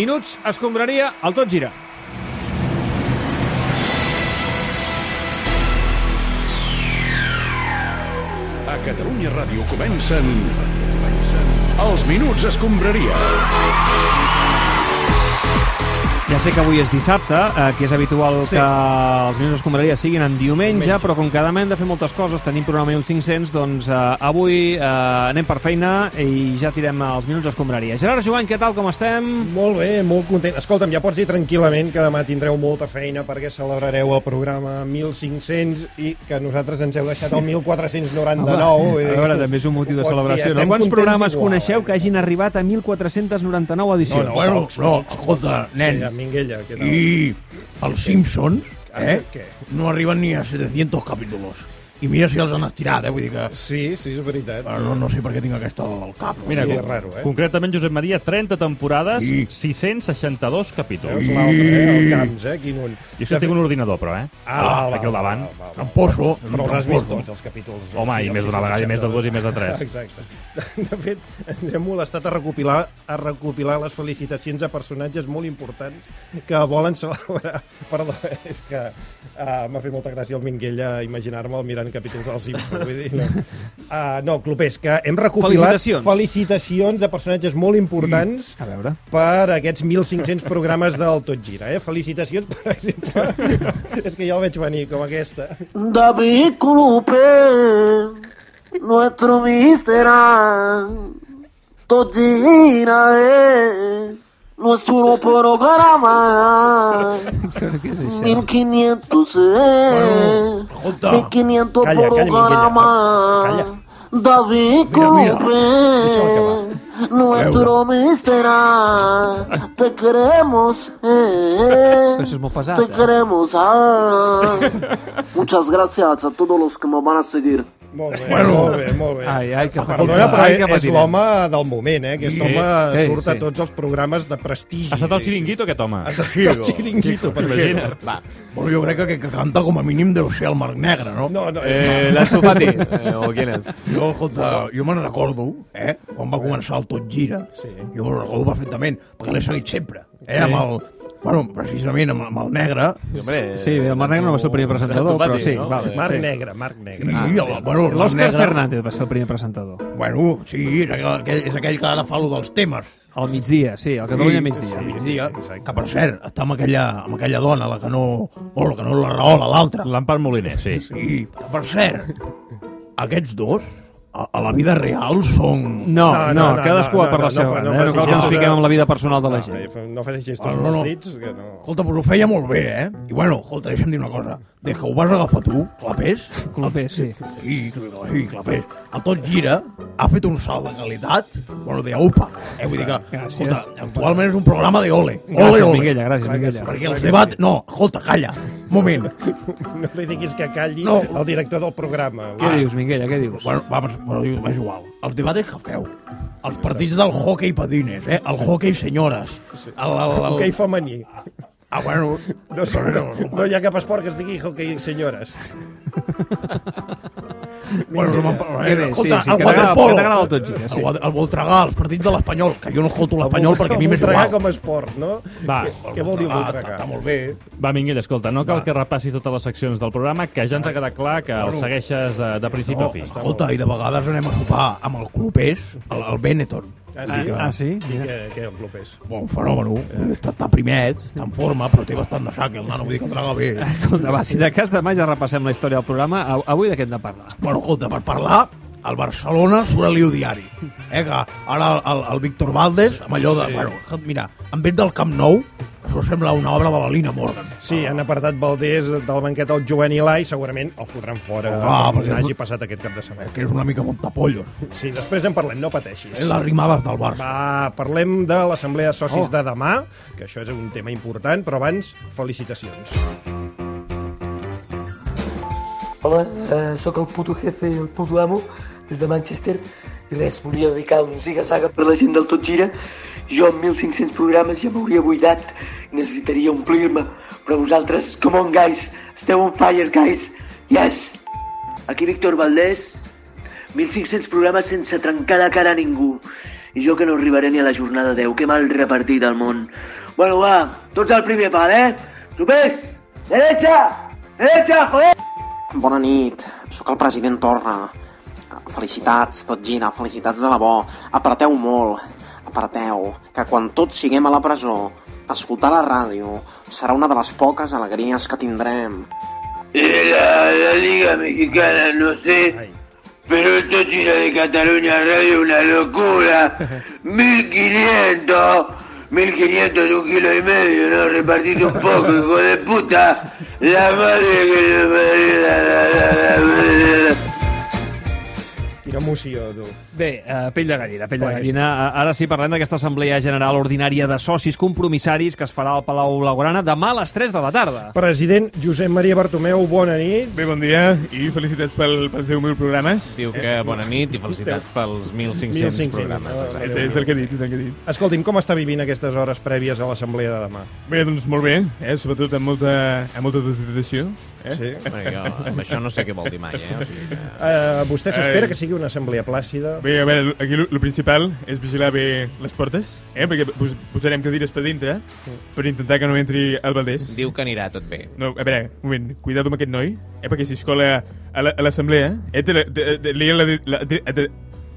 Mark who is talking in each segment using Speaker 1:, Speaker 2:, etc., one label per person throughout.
Speaker 1: minuts escombraria el tot gira.
Speaker 2: A Catalunya Ràdio comencen... comencen... Els Minuts Escombraria.
Speaker 1: Ja sé que avui és dissabte, eh, que és habitual sí. que els minuts escombraria siguin en diumenge, diumenge, però com cada any hem de fer moltes coses, tenim programa 1500, doncs eh, avui eh, anem per feina i ja tirem els minuts escombraria. Gerard Joan, què tal, com estem?
Speaker 3: Molt bé, molt content. Escolta'm, ja pots dir tranquil·lament que demà tindreu molta feina perquè celebrareu el programa 1500 i que nosaltres ens heu deixat el 1499. vull dir,
Speaker 1: a veure, també és un motiu
Speaker 3: ho
Speaker 1: de
Speaker 3: pots dir,
Speaker 1: celebració. No?
Speaker 3: Eh, estem
Speaker 1: Quants
Speaker 3: contents
Speaker 1: programes
Speaker 3: igual, eh?
Speaker 1: coneixeu que hagin arribat a 1499 edicions?
Speaker 3: No, eh. no, pocs,
Speaker 4: no,
Speaker 3: pocs,
Speaker 4: escolta,
Speaker 3: pocs.
Speaker 4: nen.
Speaker 3: Mira, Minguella, què tal?
Speaker 4: Y els Simpsons, eh,
Speaker 3: Què?
Speaker 4: no arriben ni a 700 capítols. I mira si els han estirat, eh, vull dir que...
Speaker 3: Sí, sí, és veritat.
Speaker 1: Ah,
Speaker 4: Bueno, No, no sé per què tinc aquesta al cap.
Speaker 3: Mira, sí,
Speaker 4: sí,
Speaker 3: és raro, eh?
Speaker 5: Concretament, Josep Maria, 30 temporades,
Speaker 4: I-
Speaker 5: 662 capítols.
Speaker 3: Veus l'altre, eh? El Camps, eh? Quin un.
Speaker 5: I això tinc un ordinador, però, eh?
Speaker 3: Ah, val, val,
Speaker 5: aquí al davant.
Speaker 3: val, val, val.
Speaker 4: Tramposo. és un
Speaker 3: Però els has vist doncs.
Speaker 4: tramposo.
Speaker 3: tots, els capítols.
Speaker 5: eh? Home, i
Speaker 3: els
Speaker 5: més d'una vegada, i més de dues, i més de tres.
Speaker 3: Exacte. De- De fet, ens hem molestat a recopilar, a recopilar les felicitacions a personatges molt importants que volen celebrar. Perdó, és que uh, m'ha fet molta gràcia el Minguella imaginar-me'l mirant capítols dels Simpsons. Vull dir, no. Uh, no, Clopés, que hem recopilat
Speaker 1: Felicitacions.
Speaker 3: felicitacions a personatges molt importants
Speaker 5: Mm.
Speaker 1: A veure.
Speaker 3: per aquests 1.500 programes del Tot Gira. Eh? Felicitacions, per exemple. és que ja el veig venir, com aquesta.
Speaker 6: David Colupe, nuestro mister, Totina, eh, nuestro programa, 1500, eh,
Speaker 4: Escolta,
Speaker 6: 1500
Speaker 3: Calla, calla, Minguella,
Speaker 6: programa.
Speaker 3: calla.
Speaker 6: David
Speaker 4: Mira, mira,
Speaker 3: deixa'l
Speaker 6: Colupe,
Speaker 7: е
Speaker 6: nuestro mister, te queremos, eh.
Speaker 1: Però això és molt pesat,
Speaker 6: Te
Speaker 1: eh?
Speaker 6: queremos, ah. Muchas gracias a todos los que me van a seguir.
Speaker 3: Molt bé,
Speaker 4: Bueno.
Speaker 3: molt bé, molt bé.
Speaker 1: Ai, ai, que
Speaker 3: Ah, Perdona, però eh,
Speaker 1: ai,
Speaker 3: és-
Speaker 1: que
Speaker 3: és
Speaker 1: patirem.
Speaker 3: l'home del moment, eh? Aquest
Speaker 4: Sí,
Speaker 3: home
Speaker 1: sí,
Speaker 3: surt a
Speaker 1: sí.
Speaker 3: tots els programes de prestigi.
Speaker 5: Ha estat el
Speaker 3: diguéssim.
Speaker 5: xiringuito, aquest home.
Speaker 3: Ha estat el xiringuito, per exemple.
Speaker 5: Imagina't.
Speaker 4: bueno, jo crec que, que canta com a mínim deu ser el Marc Negre, no?
Speaker 3: No, no,
Speaker 8: Eh, Lazo Fati, eh, o quién es?
Speaker 4: Jo, escolta, jo me'n recordo, eh, quan va començar el Tot Gira,
Speaker 3: Sí.
Speaker 4: jo me'n recordo perfectament, perquè l'he seguit sempre, eh, amb el... Bueno, precisament amb, amb el negre,
Speaker 8: Sí, hombre,
Speaker 1: Sí, el Marc Negre no va ser el primer presentador, però sí, va bé.
Speaker 3: Marc
Speaker 1: sí.
Speaker 3: Negre, Marc Negre.
Speaker 4: i el, bueno, el Marc
Speaker 1: L'Òscar
Speaker 4: Negre...
Speaker 1: Fernández va ser el primer presentador.
Speaker 4: Bueno, sí, és aquell, és aquell que ara fa lo dels temes.
Speaker 1: Al migdia, sí, al Catalunya sí, migdia.
Speaker 3: Sí,
Speaker 1: Sí.
Speaker 3: sí, exacte.
Speaker 4: Que, per cert, està amb aquella, amb aquella dona, la que no... Bueno, la que no la raola, l'altra.
Speaker 5: L'Empar Moliner, sí.
Speaker 4: I, per cert, aquests dos, a, a la vida real, són...
Speaker 1: No,
Speaker 3: No, no,
Speaker 1: no, no,
Speaker 3: no,
Speaker 1: cadascú
Speaker 3: no,
Speaker 1: va per
Speaker 3: no, no
Speaker 1: la seva.
Speaker 3: fa- no
Speaker 1: eh?
Speaker 3: facis
Speaker 1: No cal que ens
Speaker 3: gestos,
Speaker 1: fiquem
Speaker 3: eh?
Speaker 1: amb la vida personal de la gent.
Speaker 3: No, eh, no facis gestos
Speaker 4: Ah,
Speaker 3: amb
Speaker 4: no,
Speaker 3: els
Speaker 4: no.
Speaker 3: dits, que no...
Speaker 4: Escolta, però ho feia molt bé, eh? I bueno, escolta, deixa'm dir una cosa. Des que ho vas agafar tu, clapés,
Speaker 1: Clopé, sí.
Speaker 4: i, i clapés, a tot gira, ha fet un salt de qualitat, bueno, de upa. Eh? Vull dir que,
Speaker 1: Gràcies.
Speaker 4: escolta, actualment és un programa de ole. Ole,
Speaker 1: Gràcies,
Speaker 4: ole.
Speaker 1: Minguella, gràcies,
Speaker 3: Clar que
Speaker 1: Minguella.
Speaker 4: Perquè els debat... No, escolta, calla. Un moment.
Speaker 3: No li diguis que calli
Speaker 4: No.
Speaker 3: el director del programa.
Speaker 1: Què dius, Minguella, què dius?
Speaker 4: Bueno, vamos, bueno, diu, m'és igual. Els debats que feu. Els partits del hockey padines, eh? El hockey senyores. El, el, el...
Speaker 3: Hockey femení.
Speaker 4: Ah, bueno...
Speaker 3: No, no, no hi ha cap esport que es digui hockey senyores.
Speaker 4: bueno, no me'n parlo,
Speaker 1: Què
Speaker 4: eh?
Speaker 1: més?
Speaker 4: Escolta,
Speaker 1: Sí, sí,
Speaker 4: el
Speaker 1: que t'agrada-
Speaker 4: waterpolo.
Speaker 1: que t'agrada el tot gira, sí.
Speaker 4: El, wa- el Voltregà, els partits de l'Espanyol, que jo no escolto l'Espanyol perquè a mi m'és
Speaker 3: Voltregà
Speaker 4: igual.
Speaker 3: com a esport, no?
Speaker 5: Va.
Speaker 3: Què- Què vol dir Voltregà?
Speaker 4: Ah, Està molt bé.
Speaker 5: Va, Minguell, escolta, no cal que repassis totes les seccions del programa, que ja ens
Speaker 9: Ah.
Speaker 5: ha quedat clar que el segueixes eh, de, de principi
Speaker 4: No,
Speaker 9: Oh.
Speaker 5: a fi.
Speaker 4: escolta, i de vegades anem a sopar amb el clubers, el, el Benetton.
Speaker 3: Ah, sí?
Speaker 1: Ah, sí?
Speaker 3: I què, què el club és?
Speaker 4: Bon fenòmeno, està, està primet, està en forma, però té bastant de sac, el nano, vull dir que el traga
Speaker 1: Ah,
Speaker 4: bé.
Speaker 1: Escolta, Doncs va, si de cas demà ja repassem la història del programa, a- avui de què hem de parlar?
Speaker 4: Bueno, escolta, per parlar, el Barcelona surt a l'Iu Diari. Eh, que ara el, el, el Víctor Valdes, amb allò de... Sí. Bueno, que, mira, en vez del Camp Nou, això sembla una obra de la Lina Morgan.
Speaker 3: Sí, han apartat Valdés del banquet al Joan Ilai, segurament el fotran fora
Speaker 4: Ah,
Speaker 3: com
Speaker 4: perquè-
Speaker 3: hagi passat aquest cap de setmana.
Speaker 4: Que és una mica montapollos.
Speaker 3: Sí, després en parlem, no pateixis.
Speaker 4: Eh, les rimades del Barça.
Speaker 3: Va, parlem de l'assemblea de socis
Speaker 4: Oh.
Speaker 3: de demà, que això és un tema important, però abans, felicitacions.
Speaker 10: Hola, eh, sóc el puto jefe i el puto amo des de Manchester i res, volia dedicar un ziga-zaga per la gent del Tot Gira. Jo amb 1.500 programes ja m'hauria buidat i necessitaria omplir-me, però vosaltres, come on guys, esteu on fire guys, yes! Aquí Víctor Valdés, 1.500 programes sense trencar la cara a ningú. I jo que no arribaré ni a la jornada 10. Que mal repartit el món. Bueno, va, tots al primer pal, eh? Supers! Derecha! Derecha, joder!
Speaker 6: Bona nit, sóc el president Torra. Felicitats, tot gira, felicitats de debò. Apreteu molt, apreteu, que quan tots siguem a la presó, escoltar la ràdio serà una de les poques alegries que tindrem.
Speaker 10: La, la Liga Mexicana, no sé, pero esto Chile de Cataluña Radio una locura. 1500, 1500 de un kilo y medio, ¿no? Repartite un poco, hijo de puta. La madre que le parió, la, la, la, la, la.
Speaker 3: Quina emoció, tu.
Speaker 1: Bé, uh, pell de gallina, pell de
Speaker 3: Clar que
Speaker 1: gallina. Sí. Ara sí, parlem d'aquesta Assemblea General Ordinària de Socis Compromissaris que es farà al Palau Blaugrana demà a les 3 de la tarda.
Speaker 3: President Josep Maria Bartomeu, bona nit.
Speaker 9: Bé, bon dia i felicitats pel, pels 10.000 programes.
Speaker 8: Diu que bona nit i felicitats pels 1.500
Speaker 3: 1.500
Speaker 8: programes.
Speaker 3: programes.
Speaker 9: És, és el que he dit, és el que he dit.
Speaker 3: Ah, Escolti'm, com està vivint aquestes hores prèvies a l'assemblea de demà?
Speaker 9: Bé, doncs molt bé, eh? sobretot amb molta, amb molta deshidratació. Eh?
Speaker 3: Sí.
Speaker 8: Bueno, jo, amb això no sé què vol dir mai, eh? O sigui que...
Speaker 3: Uh, vostè s'espera
Speaker 9: Ai.
Speaker 3: que sigui una assemblea plàcida?
Speaker 9: Bé, a veure, aquí el principal és vigilar bé les portes, eh? perquè pos posarem cadires per dintre per intentar que no entri el Valdés.
Speaker 8: Diu que anirà tot bé.
Speaker 9: No, a veure, un moment, cuidado amb aquest noi, eh? perquè si es cola a la- a l'assemblea, eh? Te la, te, te, lien la, de- la, te, te,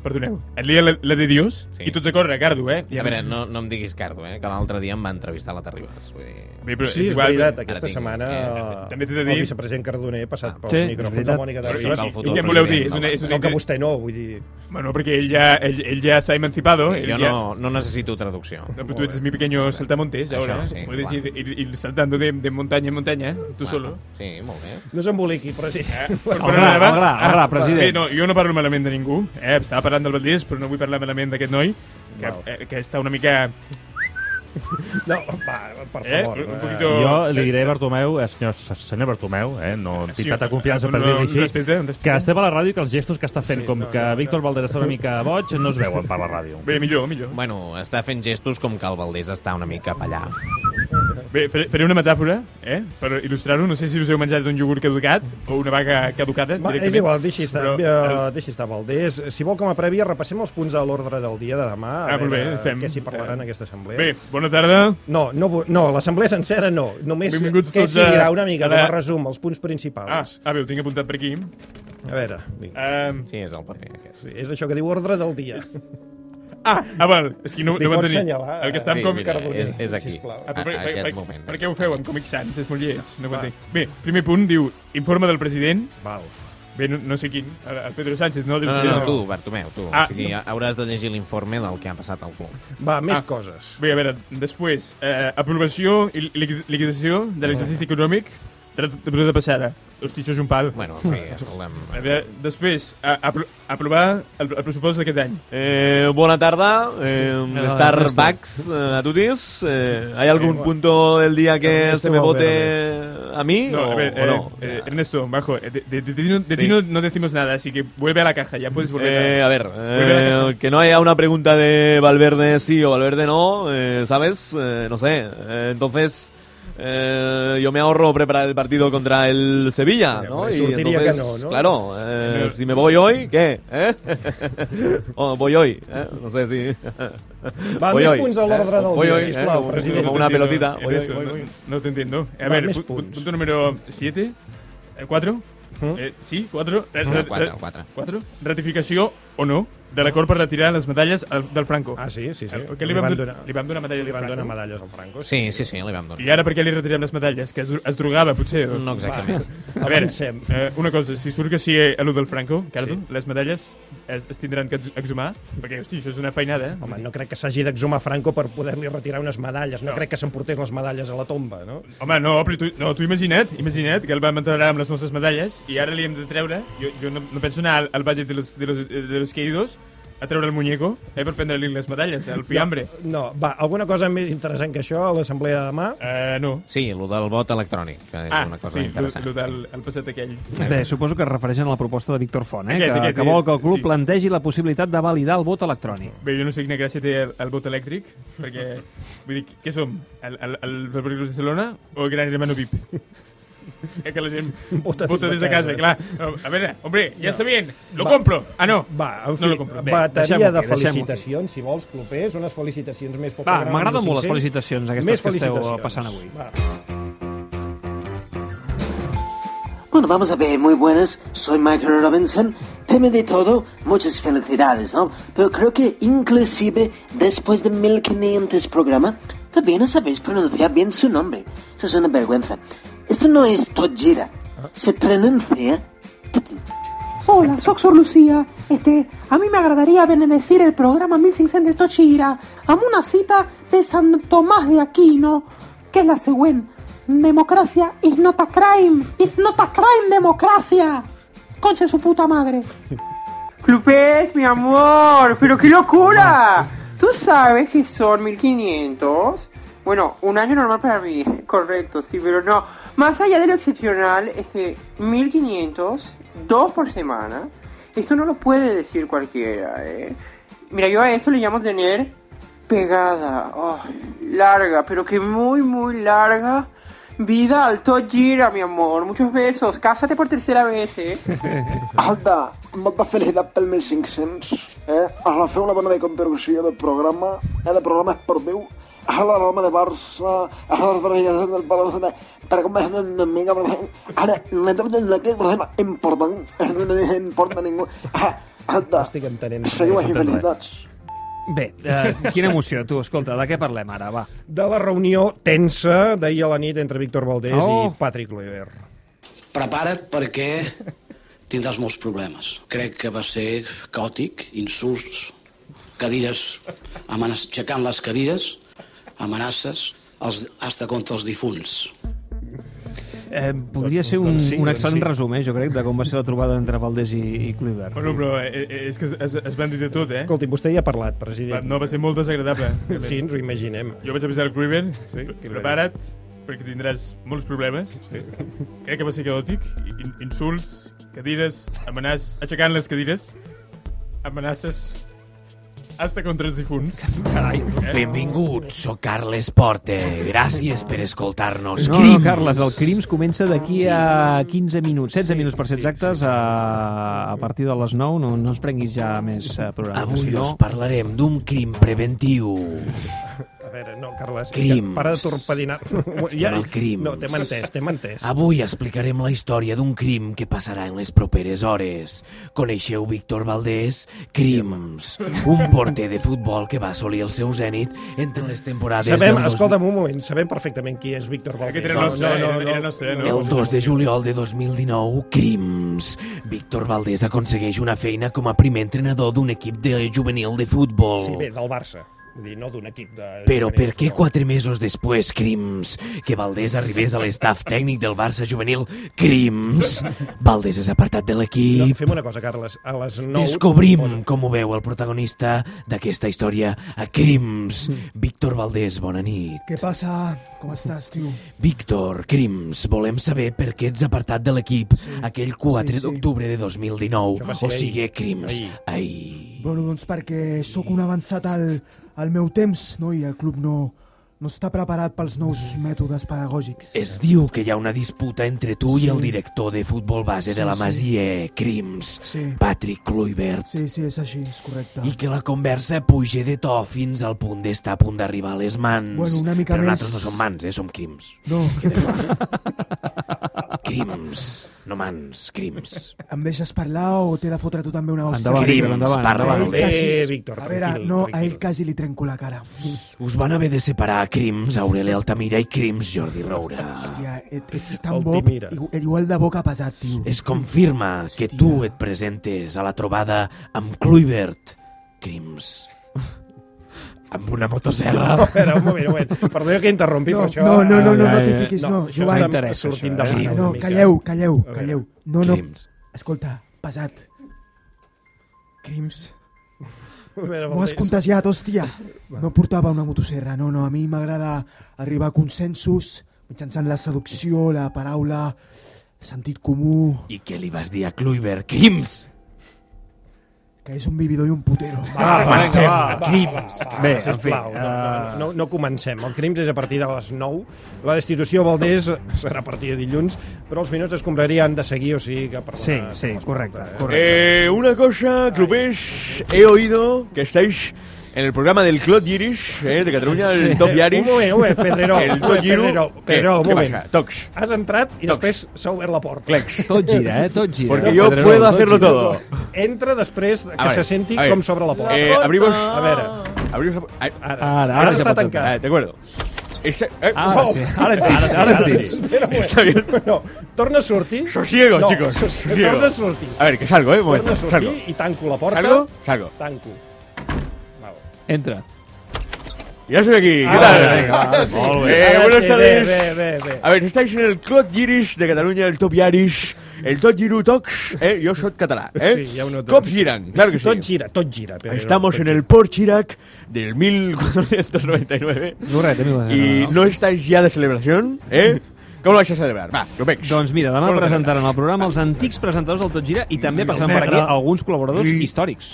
Speaker 9: perdoneu, et lien la, la de Dios
Speaker 8: Sí.
Speaker 9: sí. i tots a córrer, Cardo, eh?
Speaker 8: A veure, no, no em diguis Cardo, eh? Que l'altre dia em va entrevistar la Terribas. Vull dir...
Speaker 9: Bé, però
Speaker 3: Sí, és
Speaker 9: igual,
Speaker 3: veritat,
Speaker 8: ara
Speaker 3: aquesta
Speaker 8: tinc-
Speaker 3: setmana
Speaker 8: eh,
Speaker 9: també t'he de
Speaker 3: el
Speaker 9: dir- Ah,
Speaker 3: vicepresident Cardoner ha passat pels
Speaker 1: Sí,
Speaker 3: sí,
Speaker 1: és
Speaker 3: micròfons de
Speaker 1: veritat.
Speaker 3: Mònica
Speaker 8: Però
Speaker 9: I,
Speaker 8: això
Speaker 9: i,
Speaker 8: és
Speaker 3: Terribas.
Speaker 8: el
Speaker 9: i,
Speaker 8: futur
Speaker 9: què voleu dir?
Speaker 8: president del
Speaker 9: És una, és una
Speaker 3: No, que
Speaker 9: inter-
Speaker 3: vostè no, vull dir...
Speaker 9: Bueno, perquè ell ja, ell, ell ja s'ha emancipado.
Speaker 8: Sí,
Speaker 9: ell
Speaker 8: jo
Speaker 9: ja...
Speaker 8: no, no necessito traducció.
Speaker 9: No, pero tú eres mi pequeño saltamontes
Speaker 8: Eso,
Speaker 9: ahora.
Speaker 8: sí,
Speaker 9: Puedes
Speaker 8: claro.
Speaker 9: ir, ir- ir saltando de, de montaña en montaña, ¿eh? tú solo.
Speaker 8: Sí, molt bé.
Speaker 3: No s'emboliqui, president.
Speaker 9: eh?
Speaker 1: Al gra, al gra, al gra, president.
Speaker 9: Bé, no, jo no parlo malament de ningú. Eh? Estava parlant del Valdés, però no vull parlar malament d'aquest noi, que,
Speaker 3: Val.
Speaker 9: eh, que està una mica...
Speaker 3: No, va, per
Speaker 9: Eh?
Speaker 3: favor.
Speaker 9: Un- un
Speaker 3: eh,
Speaker 9: poquito-
Speaker 5: Jo
Speaker 9: Sí,
Speaker 5: li diré
Speaker 9: sí.
Speaker 5: a Bartomeu, eh, senyor, senyor Bartomeu, eh, no tinc
Speaker 9: Sí,
Speaker 5: tanta confiança
Speaker 9: no,
Speaker 5: per
Speaker 9: no,
Speaker 5: dir-li
Speaker 9: un
Speaker 5: així,
Speaker 9: respecte, un respecte.
Speaker 5: que estem a la ràdio i que els gestos que està fent, com que Víctor Valdés està una mica boig, no es veuen per la ràdio.
Speaker 9: Bé, millor, millor.
Speaker 8: Bueno, està fent gestos com que el Valdés està una mica pallà.
Speaker 9: Bé, faré, faré una metàfora, eh? per il·lustrar-ho. No sé si us heu menjat un iogurt caducat o una vaca caducada.
Speaker 3: Va, és
Speaker 9: directament,
Speaker 3: igual, deixi estar,
Speaker 9: però
Speaker 3: però... deixi estar Valdés. Si vol, com a prèvia, repassem els punts de l'ordre del dia de demà, a
Speaker 9: Ah, molt
Speaker 3: veure
Speaker 9: bé, fem. eh,
Speaker 3: què s'hi parlarà en aquesta assemblea.
Speaker 9: Bé, bona tarda.
Speaker 3: No, no, vu- no l'assemblea sencera no, només
Speaker 9: Benvinguts
Speaker 3: que
Speaker 9: tots
Speaker 3: s'hi dirà
Speaker 9: a-
Speaker 3: una mica,
Speaker 9: a
Speaker 3: com
Speaker 9: la-
Speaker 3: a resum, els punts
Speaker 9: Ah,
Speaker 3: principals.
Speaker 9: ah bé, ho tinc apuntat per aquí. Ah.
Speaker 3: A veure, vinga.
Speaker 9: Um,
Speaker 8: Sí, és el paper aquest.
Speaker 3: Sí, és això que diu ordre del dia.
Speaker 9: ah, ah, val, és que no,
Speaker 3: Li
Speaker 9: no
Speaker 3: pot
Speaker 9: van tenir.
Speaker 3: assenyalar,
Speaker 9: El que està
Speaker 3: eh?
Speaker 9: amb
Speaker 8: Sí,
Speaker 9: com...
Speaker 8: mira,
Speaker 3: Cardoner,
Speaker 8: és, és aquí,
Speaker 3: sisplau.
Speaker 8: a,
Speaker 9: Ah, però,
Speaker 8: a
Speaker 9: per, per,
Speaker 8: aquest
Speaker 9: per,
Speaker 8: moment.
Speaker 9: per què ho feu en Comic Sans? És molt lleig, no ho entenc. Bé, primer punt diu informe del president.
Speaker 3: Val.
Speaker 9: Bé, no, no sé quin, el el Pedro Sánchez, no?
Speaker 8: No, no, no, tu, Bartomeu, tu.
Speaker 9: Ah,
Speaker 8: o sigui, hauràs de llegir l'informe del que ha passat al club.
Speaker 3: Va, més
Speaker 9: Ah.
Speaker 3: coses.
Speaker 9: Bé, a veure, després, eh, aprovació i liqui- liquidació de l'exercici econòmic de la temporada passada. Hosti, això és un pal.
Speaker 8: Bueno, en fi, escolta'm.
Speaker 9: A veure, després, a, apro aprovar el, el pressupost d'aquest any.
Speaker 11: Eh, bona tarda, eh, Starbucks eh, a tutis. Eh, ¿Hay algún punto del día que
Speaker 3: Ernesto
Speaker 11: se me vote
Speaker 3: Valverde.
Speaker 11: a mí
Speaker 9: No, a
Speaker 11: o,
Speaker 9: ver,
Speaker 11: o
Speaker 9: eh,
Speaker 11: no? O
Speaker 9: eh,
Speaker 11: sea,
Speaker 9: Ernesto, bajo, eh, de, de- de ti, no, de ti
Speaker 11: Sí.
Speaker 9: no, no decimos nada, así que vuelve a la caja, ya puedes volver.
Speaker 11: eh,
Speaker 9: a...
Speaker 11: a ver,
Speaker 9: Volver a la
Speaker 11: eh,
Speaker 9: caja.
Speaker 11: que no haya una pregunta de Valverde sí o Valverde no, eh, ¿sabes? Eh, no sé. Eh, entonces, eh, yo me ahorro preparar el partido contra el Sevilla,
Speaker 3: Ya,
Speaker 11: ¿no?
Speaker 3: pues, surtiría que no, ¿no?
Speaker 11: Claro, eh,
Speaker 9: Pero-
Speaker 11: si me voy hoy, ¿qué? ¿Eh? O voy hoy, ¿eh? No sé si.
Speaker 3: Va,
Speaker 11: Voy
Speaker 3: més
Speaker 11: hoy,
Speaker 3: punts de l'ordre
Speaker 11: eh,
Speaker 3: del
Speaker 11: voy
Speaker 3: dia,
Speaker 11: hoy, eh,
Speaker 3: sisplau,
Speaker 11: como-
Speaker 3: president.
Speaker 11: como una
Speaker 9: entiendo,
Speaker 11: pelotita. Voy,
Speaker 9: Ernesto,
Speaker 11: voy,
Speaker 9: no,
Speaker 11: voy. pues.
Speaker 9: no te entiendo. A
Speaker 3: Va,
Speaker 9: ver,
Speaker 3: més
Speaker 9: pu- pu-
Speaker 3: punts.
Speaker 9: punto número 7, 4, eh, sí, 4,
Speaker 8: No,
Speaker 9: eh,
Speaker 8: quatre, quatre.
Speaker 9: Ratificació o no de l'acord per retirar les medalles al- del Franco.
Speaker 3: Ah, sí, sí, sí.
Speaker 9: Eh, Que li, vam donar, li vam donar medalles
Speaker 3: li
Speaker 9: al
Speaker 3: van donar
Speaker 9: Franco.
Speaker 3: medalles al Franco.
Speaker 8: Sí, sí, sí, li vam donar.
Speaker 9: I ara per què li retirem les medalles? Que es, es drogava, potser? o-
Speaker 8: No exactament.
Speaker 9: A veure,
Speaker 3: Avancem.
Speaker 9: eh, una cosa, si surt que sí eh, a lo del Franco, Cardo, les medalles es, es tindran que ex- exhumar, perquè, hosti, això és una feinada, eh?
Speaker 3: Home, no crec que s'hagi d'exhumar Franco per poder-li retirar unes medalles. No,
Speaker 9: No.
Speaker 3: crec que s'emportés les medalles a la tomba, no?
Speaker 9: Home, no, però tu, no, tu imagina't, imagina't que el vam entrar amb les nostres medalles i ara li hem de treure, jo, jo no, no penso anar al, al Valle de los, de, los, de los Caídos a treure el muñeco eh, per prendre-li les medalles, el fiambre. No.
Speaker 3: No, va, alguna cosa més interessant que això a l'assemblea de demà?
Speaker 9: Uh, no.
Speaker 8: Sí, el del vot electrònic, que és
Speaker 9: Ah,
Speaker 8: una cosa
Speaker 9: sí, lo,
Speaker 8: interessant.
Speaker 9: lo del el passat aquell.
Speaker 1: Bé, suposo que es refereixen a la proposta de Víctor Font, eh?
Speaker 9: Aquest,
Speaker 1: que,
Speaker 9: aquest,
Speaker 1: que vol que el club
Speaker 9: sí.
Speaker 1: plantegi la possibilitat de validar el vot electrònic.
Speaker 9: Bé, jo no sé quina gràcia té el, el vot elèctric, perquè, vull dir, què som? El, el, el Fabric de Barcelona o el Gran Hermano VIP? que la gent
Speaker 3: Vota
Speaker 9: vota,
Speaker 3: des de
Speaker 9: des de casa,
Speaker 3: casa.
Speaker 9: clar. A veure, hombre,
Speaker 3: No.
Speaker 9: ja està bien, lo
Speaker 3: Va.
Speaker 9: compro. Ah, no,
Speaker 3: Va, en fi,
Speaker 9: no lo compro.
Speaker 3: bateria
Speaker 1: deixem-ho
Speaker 3: de
Speaker 1: aquí, deixem-ho aquí.
Speaker 3: felicitacions, si vols, clubers, unes felicitacions més poc
Speaker 1: Va,
Speaker 3: agraden
Speaker 1: m'agraden
Speaker 3: de
Speaker 1: molt les
Speaker 3: 500.
Speaker 1: felicitacions, aquestes
Speaker 3: Més
Speaker 1: que esteu, uh,
Speaker 3: felicitacions.
Speaker 1: passant avui.
Speaker 3: Va.
Speaker 6: Bueno, vamos a ver, muy buenas. Soy Michael Robinson. Peme de todo, muchas felicidades, ¿no? Pero creo que inclusive después de 1500 programas, todavía no sabéis pronunciar bien su nombre. Eso es una vergüenza. Esto no es Tojira. Se pronuncia
Speaker 12: Hola, soy Sor Lucía. Este, a mí me agradaría bendecir el programa 1500 de Tochira. Amo una cita de San Tomás de Aquino, que es la següent. Democracia is not a crime. Is not a crime, democracia. Conche su puta madre.
Speaker 13: Clupés, mi amor, pero qué locura. ¿Tú sabes que son 1500? Bueno, un año normal para mí, correcto, sí, pero no. Más allá de lo excepcional, este 1500, dos por semana, esto no lo puede decir cualquiera, ¿eh? Mira, yo a eso le llamo tener pegada, oh, larga, pero que muy, muy larga. Vida al Tojira, mi amor. Muchos besos. Cásate por tercera vez, ¿eh?
Speaker 14: Alta, molta felicitat pel 1500. Eh? Us la feu una bona recontribució del programa, eh? de programa esportiu. A la Roma de Barça, a la Real del Barcelona, per com és una mica... Ara, la trobo en aquest problema important, no li importa a ningú. Ah, Alta,
Speaker 3: Estic entenent.
Speaker 14: seguiu així, felicitats.
Speaker 1: Bé, eh, quina emoció, tu, escolta, de què parlem ara, va.
Speaker 3: De la reunió tensa d'ahir a la nit entre Víctor Valdés
Speaker 1: Oh.
Speaker 3: i Patrick Kluivert.
Speaker 15: prepara't perquè tindràs molts problemes. Crec que va ser caòtic, insults, cadires, amana- aixecant les cadires, amenaces, els, hasta contra els difunts.
Speaker 1: Eh, podria ser un,
Speaker 15: doncs sí,
Speaker 1: un
Speaker 15: doncs
Speaker 1: excel·lent
Speaker 15: sí.
Speaker 1: resum, eh, jo crec, de com va ser la trobada entre Valdés i, i Kluivert.
Speaker 9: Bueno, però eh, eh, és que es, es, es van dir de tot, eh?
Speaker 3: Escolti, vostè hi ha parlat, president.
Speaker 9: Va, no, va ser molt desagradable.
Speaker 3: Sí, ens ho imaginem.
Speaker 9: Jo vaig avisar el Cruiven, sí,
Speaker 3: què li va
Speaker 9: prepara't, perquè tindràs molts problemes. Crec que va ser caòtic. In insults, cadires, amenaces, aixecant les cadires, amenaces, hasta contra els difunts. Carai.
Speaker 7: Benvinguts, sóc Carles Porte. Gràcies per escoltar-nos.
Speaker 1: No, no,
Speaker 7: Crims.
Speaker 1: Carles, el Crims comença d'aquí a 15 minuts, 16 minuts per ser exactes, a, a partir de les 9, no, no ens prenguis ja més eh, programes.
Speaker 7: Avui
Speaker 1: si no...
Speaker 7: us parlarem d'un crim preventiu.
Speaker 3: A veure, no, Carles, és que
Speaker 7: Crims.
Speaker 3: para de torpedinar.
Speaker 7: Estem al crims.
Speaker 3: No, t'hem entès, t'hem entès.
Speaker 7: Avui explicarem la història d'un crim que passarà en les properes hores. Coneixeu Víctor Valdés? Crims. Un porter de futbol que va assolir el seu zènit entre les temporades...
Speaker 3: Sabem,
Speaker 7: del dos-
Speaker 3: escolta'm un moment, sabem perfectament qui és Víctor Valdés.
Speaker 9: Aquest era nostre, era- era nostre, no?
Speaker 7: El 2 de juliol de 2019, Crims. Víctor Valdés aconsegueix una feina com a primer entrenador d'un equip de juvenil de futbol.
Speaker 3: Sí, bé, del Barça. Vull dir, no d'un equip de...
Speaker 7: Però per què quatre mesos després, Crims, que Valdés arribés a l'estaf tècnic del Barça juvenil, Crims, Valdés és apartat de
Speaker 3: No,
Speaker 7: l'equip?
Speaker 3: fem una cosa, Carles. A les 9...
Speaker 7: Descobrim com ho veu el protagonista d'aquesta història a Crims.
Speaker 16: Mm.
Speaker 7: Víctor Valdés, bona nit.
Speaker 16: Què passa? Com estàs, tio?
Speaker 7: Víctor, Crims, volem saber per què ets apartat de l'equip aquell 4
Speaker 16: sí, sí.
Speaker 7: d'octubre de 2019,
Speaker 16: Això va ser
Speaker 7: o
Speaker 16: ahir.
Speaker 7: sigui, Crims, ahir.
Speaker 16: Bueno, doncs perquè sóc un avançat al, al meu temps, no? I el club no, no està preparat pels nous mètodes pedagògics.
Speaker 7: Es diu que hi ha una disputa entre tu i
Speaker 16: Sí.
Speaker 7: el director de futbol base
Speaker 16: Sí,
Speaker 7: de la
Speaker 16: sí.
Speaker 7: Masia, Crims,
Speaker 16: Sí.
Speaker 7: Patrick Kluivert,
Speaker 16: Sí, sí, és així, és correcte.
Speaker 7: i que la conversa puja de to fins al punt d'estar a punt d'arribar a les mans.
Speaker 16: Bueno, una mica
Speaker 7: Però
Speaker 16: més.
Speaker 7: nosaltres no som mans, eh? Som crims.
Speaker 16: No.
Speaker 7: Queda clar. crims, no mans, crims.
Speaker 16: Em deixes parlar o t'he de fotre tu també una hòstia?
Speaker 7: Endavant, Crims, Víctor, endavant, parla, endavant.
Speaker 16: A ell quasi-
Speaker 3: Eh,
Speaker 7: Bé, Víctor,
Speaker 16: A veure,
Speaker 7: tranquil,
Speaker 16: no, a ell quasi li trenco la cara.
Speaker 7: Us van haver de separar crims Aurelia Altamira i crims Jordi Roura.
Speaker 16: Hòstia, et, ets tan bo, igu- igual de boca pesat, tio.
Speaker 7: Es confirma que tu et presentes a la trobada amb Kluivert, crims, amb una motosserra.
Speaker 3: A veure, un moment, un moment. Perdó que interrompi,
Speaker 16: No,
Speaker 3: però això...
Speaker 16: no, no, no, no,
Speaker 7: Ja,
Speaker 16: no t'hi
Speaker 7: ja.
Speaker 16: fiquis, no.
Speaker 3: No, això està sortint de
Speaker 16: eh?
Speaker 3: mano
Speaker 16: No,
Speaker 3: una mica.
Speaker 16: calleu, calleu,
Speaker 3: A veure.
Speaker 16: calleu. No, no.
Speaker 3: Crims.
Speaker 16: Escolta, pesat. Crims.
Speaker 3: A veure,
Speaker 16: M'ho
Speaker 3: Valdés.
Speaker 16: has contagiat, hòstia. No portava una motosserra, no, no. A mi m'agrada arribar a consensos mitjançant la seducció, la paraula, sentit comú...
Speaker 7: I què li vas dir a Kluivert, crims?
Speaker 16: que és un vividor i un putero.
Speaker 3: Bé, sisplau, en fi, eh, no, no, no, no comencem. El Crims és a partir de les 9. La destitució a Valdés serà a partir de dilluns, però els minuts d'escombraria han de seguir, o sigui que... Perdona, sí, sí, correcte.
Speaker 11: Eh, una cosa, clubers, he oído que estáis en el programa del Clot Yirish, eh, de Cataluña, el Top Yirish.
Speaker 3: Un moment, un moment, Pedreró.
Speaker 11: El eh,
Speaker 3: un
Speaker 11: Top
Speaker 3: moment,
Speaker 11: Yiru.
Speaker 3: Pedreró,
Speaker 11: Què?
Speaker 3: Pedreró, un
Speaker 11: Què
Speaker 3: moment.
Speaker 11: passa? Tocs.
Speaker 3: Has entrat i després s'ha obert la porta.
Speaker 11: Clecs.
Speaker 1: Tot gira, eh? Tot gira.
Speaker 11: Porque yo puedo hacerlo todo.
Speaker 3: Entra després que
Speaker 11: A veure,
Speaker 3: se senti
Speaker 11: a veure.
Speaker 3: com s'obre la porta.
Speaker 11: Eh, abrimos...
Speaker 3: A veure.
Speaker 11: Abrimos... Ara,
Speaker 7: Ah,
Speaker 3: Ara, ara està tancat.
Speaker 11: Eh, de acuerdo. Ese- eh,
Speaker 7: Ah,
Speaker 3: Ara sí, ara ets dins, ara ets dins. Espera un moment.
Speaker 11: Está bien.
Speaker 3: No, torna a sortir.
Speaker 11: Sosiego,
Speaker 3: No,
Speaker 11: chicos.
Speaker 3: sosiego.
Speaker 11: sosiego.
Speaker 3: Torna a sortir.
Speaker 11: A ver, que salgo, eh, un
Speaker 3: Torna
Speaker 11: momento.
Speaker 3: a sortir
Speaker 11: Salgo.
Speaker 3: i tanco la porta.
Speaker 11: Salgo? Salgo.
Speaker 3: Tanco.
Speaker 1: Entra.
Speaker 11: Ya estoy aquí. ¿Qué
Speaker 3: Ahora,
Speaker 11: tal?
Speaker 3: Ah, venga, ahora sí. Ahora
Speaker 11: Muy bien. Eh,
Speaker 3: sí,
Speaker 11: buenas
Speaker 3: ve,
Speaker 11: tardes.
Speaker 3: ve, ve, ve.
Speaker 11: A ver, estáis en el Clot Yirish de Cataluña, el Top Yirish, el Tot Giru Tox. Eh, yo soy catalán. Eh.
Speaker 3: Sí, ja ho noto.
Speaker 11: Cops giran, claro que sí.
Speaker 3: Tot gira, tot gira. Pedreró,
Speaker 11: Estamos
Speaker 3: tot
Speaker 11: en
Speaker 3: gira.
Speaker 11: el Port Chirac del 1499.
Speaker 1: Correcte, amigo.
Speaker 11: Y no estáis ya de celebración, ¿eh? ¿Cómo lo vais a celebrar? Va, lo veis.
Speaker 1: Doncs mira, demà
Speaker 11: Com ho
Speaker 1: presentaran al programa els antics presentadors del Tot Gira i també passaran per aquí
Speaker 11: Merda.
Speaker 1: alguns col·laboradors
Speaker 11: I-
Speaker 1: històrics.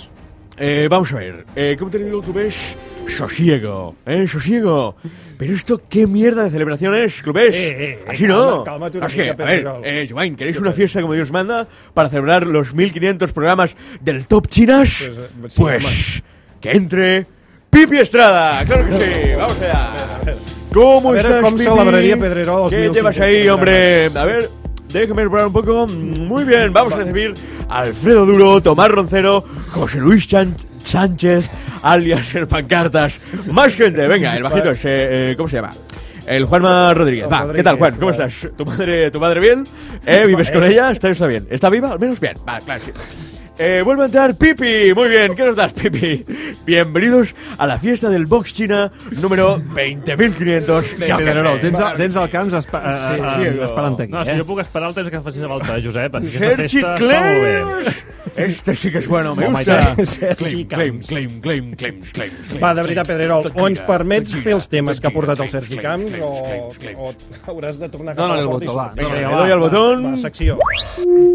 Speaker 11: Eh, vamos a ver, eh, ¿cómo te lo digo, clubes? Sosiego, ¿eh? Sosiego. Pero esto, ¿qué mierda de celebración es, clubes?
Speaker 3: Eh, eh, eh,
Speaker 11: Así
Speaker 3: calma,
Speaker 11: ¿Ah, no.
Speaker 3: cálmate una
Speaker 11: No, es que,
Speaker 3: mica,
Speaker 11: a ver,
Speaker 3: Pedrerol.
Speaker 11: eh, Joain, ¿queréis una fiesta como Dios manda para celebrar los 1500 programas del Top Chinas?
Speaker 3: Pues, eh, sí,
Speaker 11: Pues, que entre Pipi Estrada, claro que sí, vamos allá.
Speaker 3: A
Speaker 11: ¿Cómo
Speaker 3: ver,
Speaker 11: estás,
Speaker 3: ¿cómo
Speaker 11: Pipi?
Speaker 3: celebraría Pedrerol los
Speaker 11: ¿Qué
Speaker 3: 1500
Speaker 11: llevas ahí,
Speaker 3: programas?
Speaker 11: hombre? A ver, déjame preparar un poco. Muy bien, vamos a recibir a Alfredo Duro, Tomás Roncero, José Luis Chan- Sánchez, alias el Pancartas. Más gente, venga, el bajito ese, eh, ¿cómo se llama? El Juanma Rodríguez. Va, ¿qué tal, Juan? ¿Cómo estás? ¿Tu madre, tu madre bien? ¿Eh? ¿Vives con ella? ¿Está, está bien? ¿Está viva? Al menos bien. Va, claro, sí. Eh, vuelve a entrar Pipi. Muy bien, ¿qué nos das, Pipi? Bienvenidos a la fiesta del box china número 20.500.
Speaker 1: Bé, Pedrerol, tens, el- tens el camp espa, eh,
Speaker 11: Sí,
Speaker 1: eh,
Speaker 11: sí,
Speaker 1: esperant aquí.
Speaker 5: No, si
Speaker 1: eh?
Speaker 5: jo puc esperar el temps que facis a falta, Josep. perquè aquesta
Speaker 11: Sergi
Speaker 5: festa està molt bé.
Speaker 11: Claims! Este sí que es bueno, me
Speaker 5: Home,
Speaker 11: gusta.
Speaker 5: i tant.
Speaker 11: Claim, claim, claim, claim, claim, claim.
Speaker 3: Va, de veritat, Pedrerol,
Speaker 11: Tot
Speaker 3: o ens
Speaker 11: gira,
Speaker 3: permets
Speaker 11: tot gira,
Speaker 3: fer els temes
Speaker 11: tot
Speaker 3: que ha portat
Speaker 11: gira,
Speaker 3: el Sergi
Speaker 11: claim,
Speaker 3: Camps o,
Speaker 11: claim,
Speaker 3: o hauràs de tornar cap a
Speaker 11: Dónale
Speaker 3: la
Speaker 11: el
Speaker 3: porta i
Speaker 11: botó, va.
Speaker 3: sortir?
Speaker 11: Dónale, le doy al botón.
Speaker 3: Va, secció.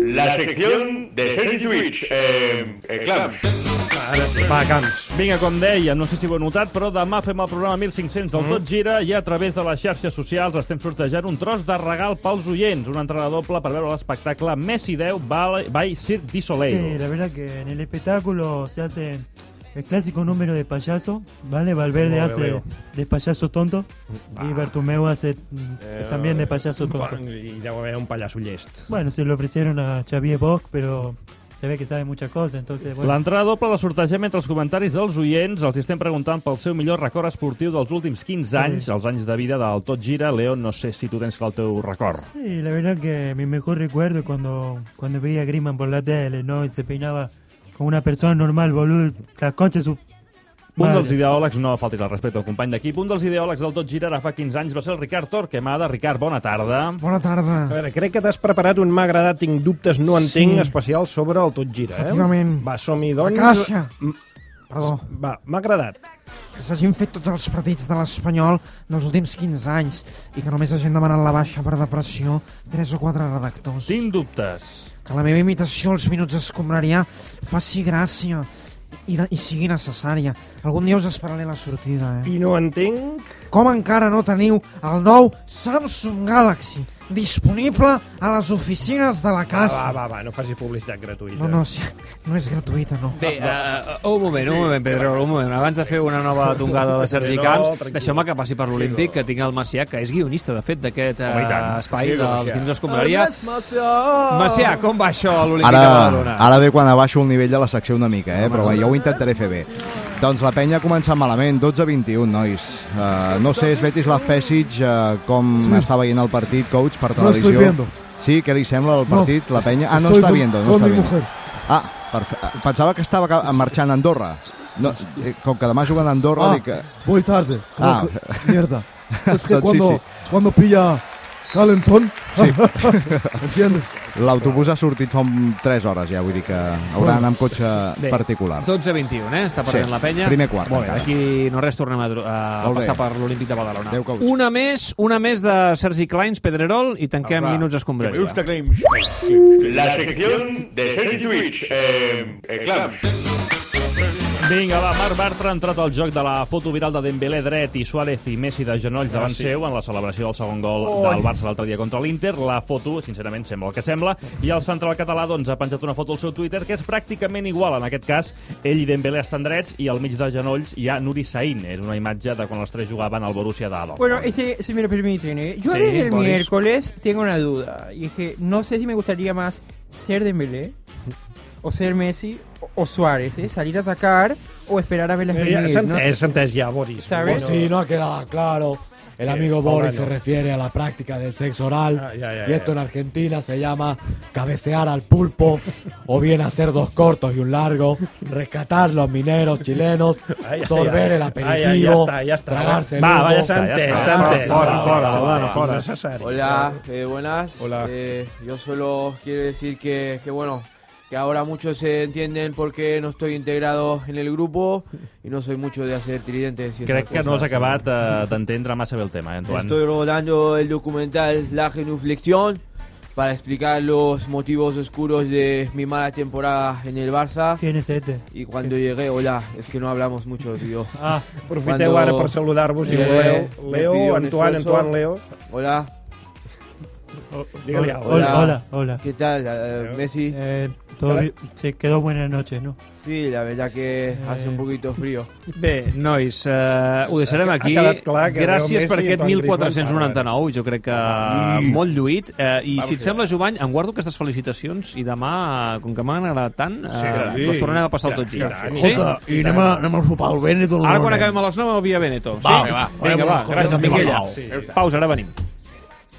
Speaker 11: La sección de Sergi Twitch. Eh, eh, clams.
Speaker 3: Ara sí. Va, Camps.
Speaker 5: Vinga, com dèiem, no sé si ho heu notat, però demà fem el programa 1500 del Tot Gira i a través de les xarxes socials estem sortejant un tros de regal pels oients, una entrada doble per veure l'espectacle Messi 10 by, by Cirque du
Speaker 17: Sí,
Speaker 5: Soleil.
Speaker 17: la verdad que en el espectáculo se hace el clásico número de payaso, ¿vale? Valverde
Speaker 3: Veo,
Speaker 17: hace
Speaker 3: veo.
Speaker 17: de payaso tonto y Bartumeu hace mm,
Speaker 3: Eh,
Speaker 17: también de payaso tonto.
Speaker 3: Bueno, I deu haver un pallasso llest.
Speaker 17: Bueno, se lo ofrecieron a Xavier Bosch, pero se ve que sabe muchas cosas, entonces bueno.
Speaker 5: L'entrada doble la sortegem entre els comentaris dels oients. Els estem preguntant pel seu millor record esportiu dels últims 15 anys,
Speaker 17: Sí.
Speaker 5: els anys de vida del Tot Gira. Leon, no sé si tu tens el teu record.
Speaker 17: Sí, la verdad que mi mejor recuerdo es cuando, cuando veía a Griezmann por la tele, ¿no? Y se peinaba como una persona normal, boludo, las conchas su...
Speaker 5: Un
Speaker 17: madre.
Speaker 5: dels ideòlegs, no faltis al respecte al company d'equip, un dels ideòlegs del Tot Gira ara fa 15 anys va ser el Ricard Torquemada. Ricard, bona tarda.
Speaker 3: Bona tarda. A veure, crec que t'has preparat un m'ha agradat, tinc dubtes, no entenc,
Speaker 16: Sí.
Speaker 3: especial sobre el Tot Gira, eh?
Speaker 16: Efectivament.
Speaker 3: Va, som-hi, doncs.
Speaker 16: La caixa.
Speaker 3: Mm,
Speaker 16: Perdó.
Speaker 3: Va, m'ha agradat.
Speaker 16: que s'hagin fet tots els partits de l'Espanyol dels últims 15 anys i que només hagin demanat la baixa per depressió tres o quatre redactors.
Speaker 5: Tinc dubtes.
Speaker 16: Que la meva imitació als minuts escombraria faci gràcia i, de, i sigui necessària. Algun dia us esperaré la sortida, eh?
Speaker 3: I no entenc...
Speaker 16: Com encara no teniu el nou Samsung Galaxy disponible a les oficines de la
Speaker 3: Va,
Speaker 16: casa?
Speaker 3: va, va, va, no facis publicitat gratuïta.
Speaker 16: No, no, sí, no és gratuïta, no.
Speaker 1: Bé, uh, un moment, un moment, Pedro, un moment. Abans de fer una nova tongada de Sergi
Speaker 3: No,
Speaker 1: Camps,
Speaker 3: tranquil.
Speaker 1: deixeu-me que passi per l'Olímpic, que tinc el Macià, que és guionista, de fet, d'aquest eh,
Speaker 5: Home, i tant.
Speaker 1: espai
Speaker 5: Sí,
Speaker 1: dels
Speaker 5: Macià.
Speaker 1: Quins Escombraria. Macià, com va això a l'Olímpic de
Speaker 18: Ara,
Speaker 1: Badalona?
Speaker 18: ara ve quan abaixo el nivell de la secció una mica, eh? però bé, jo ho intentaré fer bé. Doncs la penya ha començat malament, 12-21, nois. Uh, no sé, Svetis Lav Pesic, uh, com
Speaker 16: Sí.
Speaker 18: està veient el partit, coach, per
Speaker 16: No
Speaker 18: televisió?
Speaker 16: estoy viendo.
Speaker 18: Sí, què li sembla el partit, la penya? Ah, no
Speaker 16: estoy
Speaker 18: està
Speaker 16: con-
Speaker 18: viendo, no
Speaker 16: con
Speaker 18: està
Speaker 16: mi
Speaker 18: viendo.
Speaker 16: mujer.
Speaker 18: Ah, perfe- pensava que estava ca- marxant a Andorra. No, eh, com que demà juguen a Andorra,
Speaker 16: Ah,
Speaker 18: dic... que-
Speaker 16: voy tarde. como
Speaker 18: Ah.
Speaker 16: que- mierda. Es que
Speaker 18: Entonces,
Speaker 16: cuando,
Speaker 18: sí,
Speaker 16: cuando pilla calentón, ¿entiendes?
Speaker 18: L'autobús ha sortit fa un- 3 hores ja, vull dir que haurà d'anar amb cotxe
Speaker 1: Bé,
Speaker 18: particular.
Speaker 1: 12-21, eh? Està perdent
Speaker 18: Sí,
Speaker 1: la penya.
Speaker 18: primer quart,
Speaker 1: Molt bé,
Speaker 18: encara.
Speaker 1: aquí no res, tornem a, tro- a
Speaker 18: Molt bé.
Speaker 1: passar per l'Olímpic de Badalona.
Speaker 18: Adéu, coach.
Speaker 1: Una més, una més de Sergi Kleins, Pedrerol, i tanquem
Speaker 11: Apa,
Speaker 1: Minuts
Speaker 11: que me
Speaker 1: Escombraria.
Speaker 11: gusta Claims.
Speaker 2: La sección de Sergi Twitch. Eh, eh, clams.
Speaker 5: Vinga, va, Marc Bartra ha entrat al joc de la foto viral de Dembélé dret i Suárez i Messi de genolls
Speaker 1: Ah,
Speaker 5: davant
Speaker 1: sí.
Speaker 5: seu en la celebració del segon gol
Speaker 1: Oi.
Speaker 5: del Barça l'altre dia contra l'Inter. La foto, sincerament, sembla el que sembla. I el central català doncs, ha penjat una foto al seu Twitter que és pràcticament igual. En aquest cas, ell i Dembélé estan drets i al mig de genolls hi ha Nuri Sain. És una imatge de quan els tres jugaven al Borussia Dortmund.
Speaker 13: Bueno, ese, si me lo permiten, ¿eh? yo
Speaker 5: Sí,
Speaker 13: desde el
Speaker 5: Boris.
Speaker 13: miércoles tengo una duda. Y dije, no sé si me gustaría más ser Dembélé, o ser Messi, o, o Suárez, ¿eh? Salir a atacar o esperar a ver las
Speaker 3: Eh, ja, s'ha entès, s'ha entès ja, Boris.
Speaker 13: ¿Sabes?
Speaker 19: Sí, no ha quedado claro. El
Speaker 3: Eh,
Speaker 19: amigo
Speaker 3: ahora
Speaker 19: Boris
Speaker 3: no.
Speaker 19: se refiere a la práctica del sexo oral.
Speaker 3: Ah, ya, ya,
Speaker 19: y esto en Argentina se llama cabecear al pulpo. o bien hacer dos cortos y un largo. Rescatar los mineros chilenos.
Speaker 3: Ai, ai,
Speaker 19: sorber
Speaker 3: ai.
Speaker 19: el aperitivo.
Speaker 3: Ai, ai, ja està, ja està.
Speaker 19: Tragarse el
Speaker 3: Va, va,
Speaker 19: humo. Ah,
Speaker 3: ja s'ha entès,
Speaker 4: Ah,
Speaker 3: s'ha entès. Fora, fora, Laudano, fora. Necesario.
Speaker 20: Hola, eh, buenas. Eh, yo solo quiero decir que, que, bueno, que ahora muchos se entienden porque no estoy integrado en el grupo y no soy mucho de hacer tridentes. y esas
Speaker 5: Crec que no has
Speaker 20: cosas.
Speaker 5: acabat eh, d'entendre massa bé el tema, eh, Antoine.
Speaker 20: Estoy rodando el documental La Genuflexión para explicar los motivos oscuros de mi mala temporada en el Barça.
Speaker 17: ¿Quién es este?
Speaker 20: Y cuando llegué, hola, es que no hablamos mucho, tío.
Speaker 3: Ah. Aprofiteu ara per saludar-vos, si voleu.
Speaker 20: me
Speaker 3: Leo,
Speaker 20: pidió un
Speaker 3: Antoine,
Speaker 20: esfuerzo.
Speaker 3: Antoine, Leo.
Speaker 20: Hola.
Speaker 3: Dígale algo.
Speaker 17: Hola, hola, hola.
Speaker 20: ¿Qué tal, eh, Messi?
Speaker 17: Eh, todo bien. Se quedó buena noche, ¿no? Eh,
Speaker 20: Sí, la verdad que hace un poquito frío.
Speaker 1: Bé, nois, eh, ho deixarem
Speaker 20: Ha- ha
Speaker 1: aquí.
Speaker 20: quedat clar que
Speaker 1: Gràcies
Speaker 20: Leo
Speaker 1: per
Speaker 20: Messi
Speaker 1: aquest
Speaker 20: i Antoine
Speaker 1: 1499, jo crec que
Speaker 20: Sí.
Speaker 1: molt lluït. Eh, I
Speaker 20: Vamos
Speaker 1: si et sembla, Jovany, em guardo aquestes felicitacions i demà, com que m'han agradat tant, eh,
Speaker 4: Sí, clar.
Speaker 1: les tornarem a passar el tot
Speaker 4: Sí,
Speaker 1: gir.
Speaker 4: clar. Escolta, i anem a- anem al sopar al Benetton,
Speaker 1: Ara,
Speaker 4: no
Speaker 1: quan
Speaker 4: anem.
Speaker 1: acabem a les 9, a Via Veneto.
Speaker 4: Va,
Speaker 1: sí?
Speaker 4: va.
Speaker 1: Vinga, va.
Speaker 4: Farem unes
Speaker 1: Gràcies,
Speaker 4: coses
Speaker 1: Miquella.
Speaker 4: amb el Pau.
Speaker 1: Pausa, ara venim.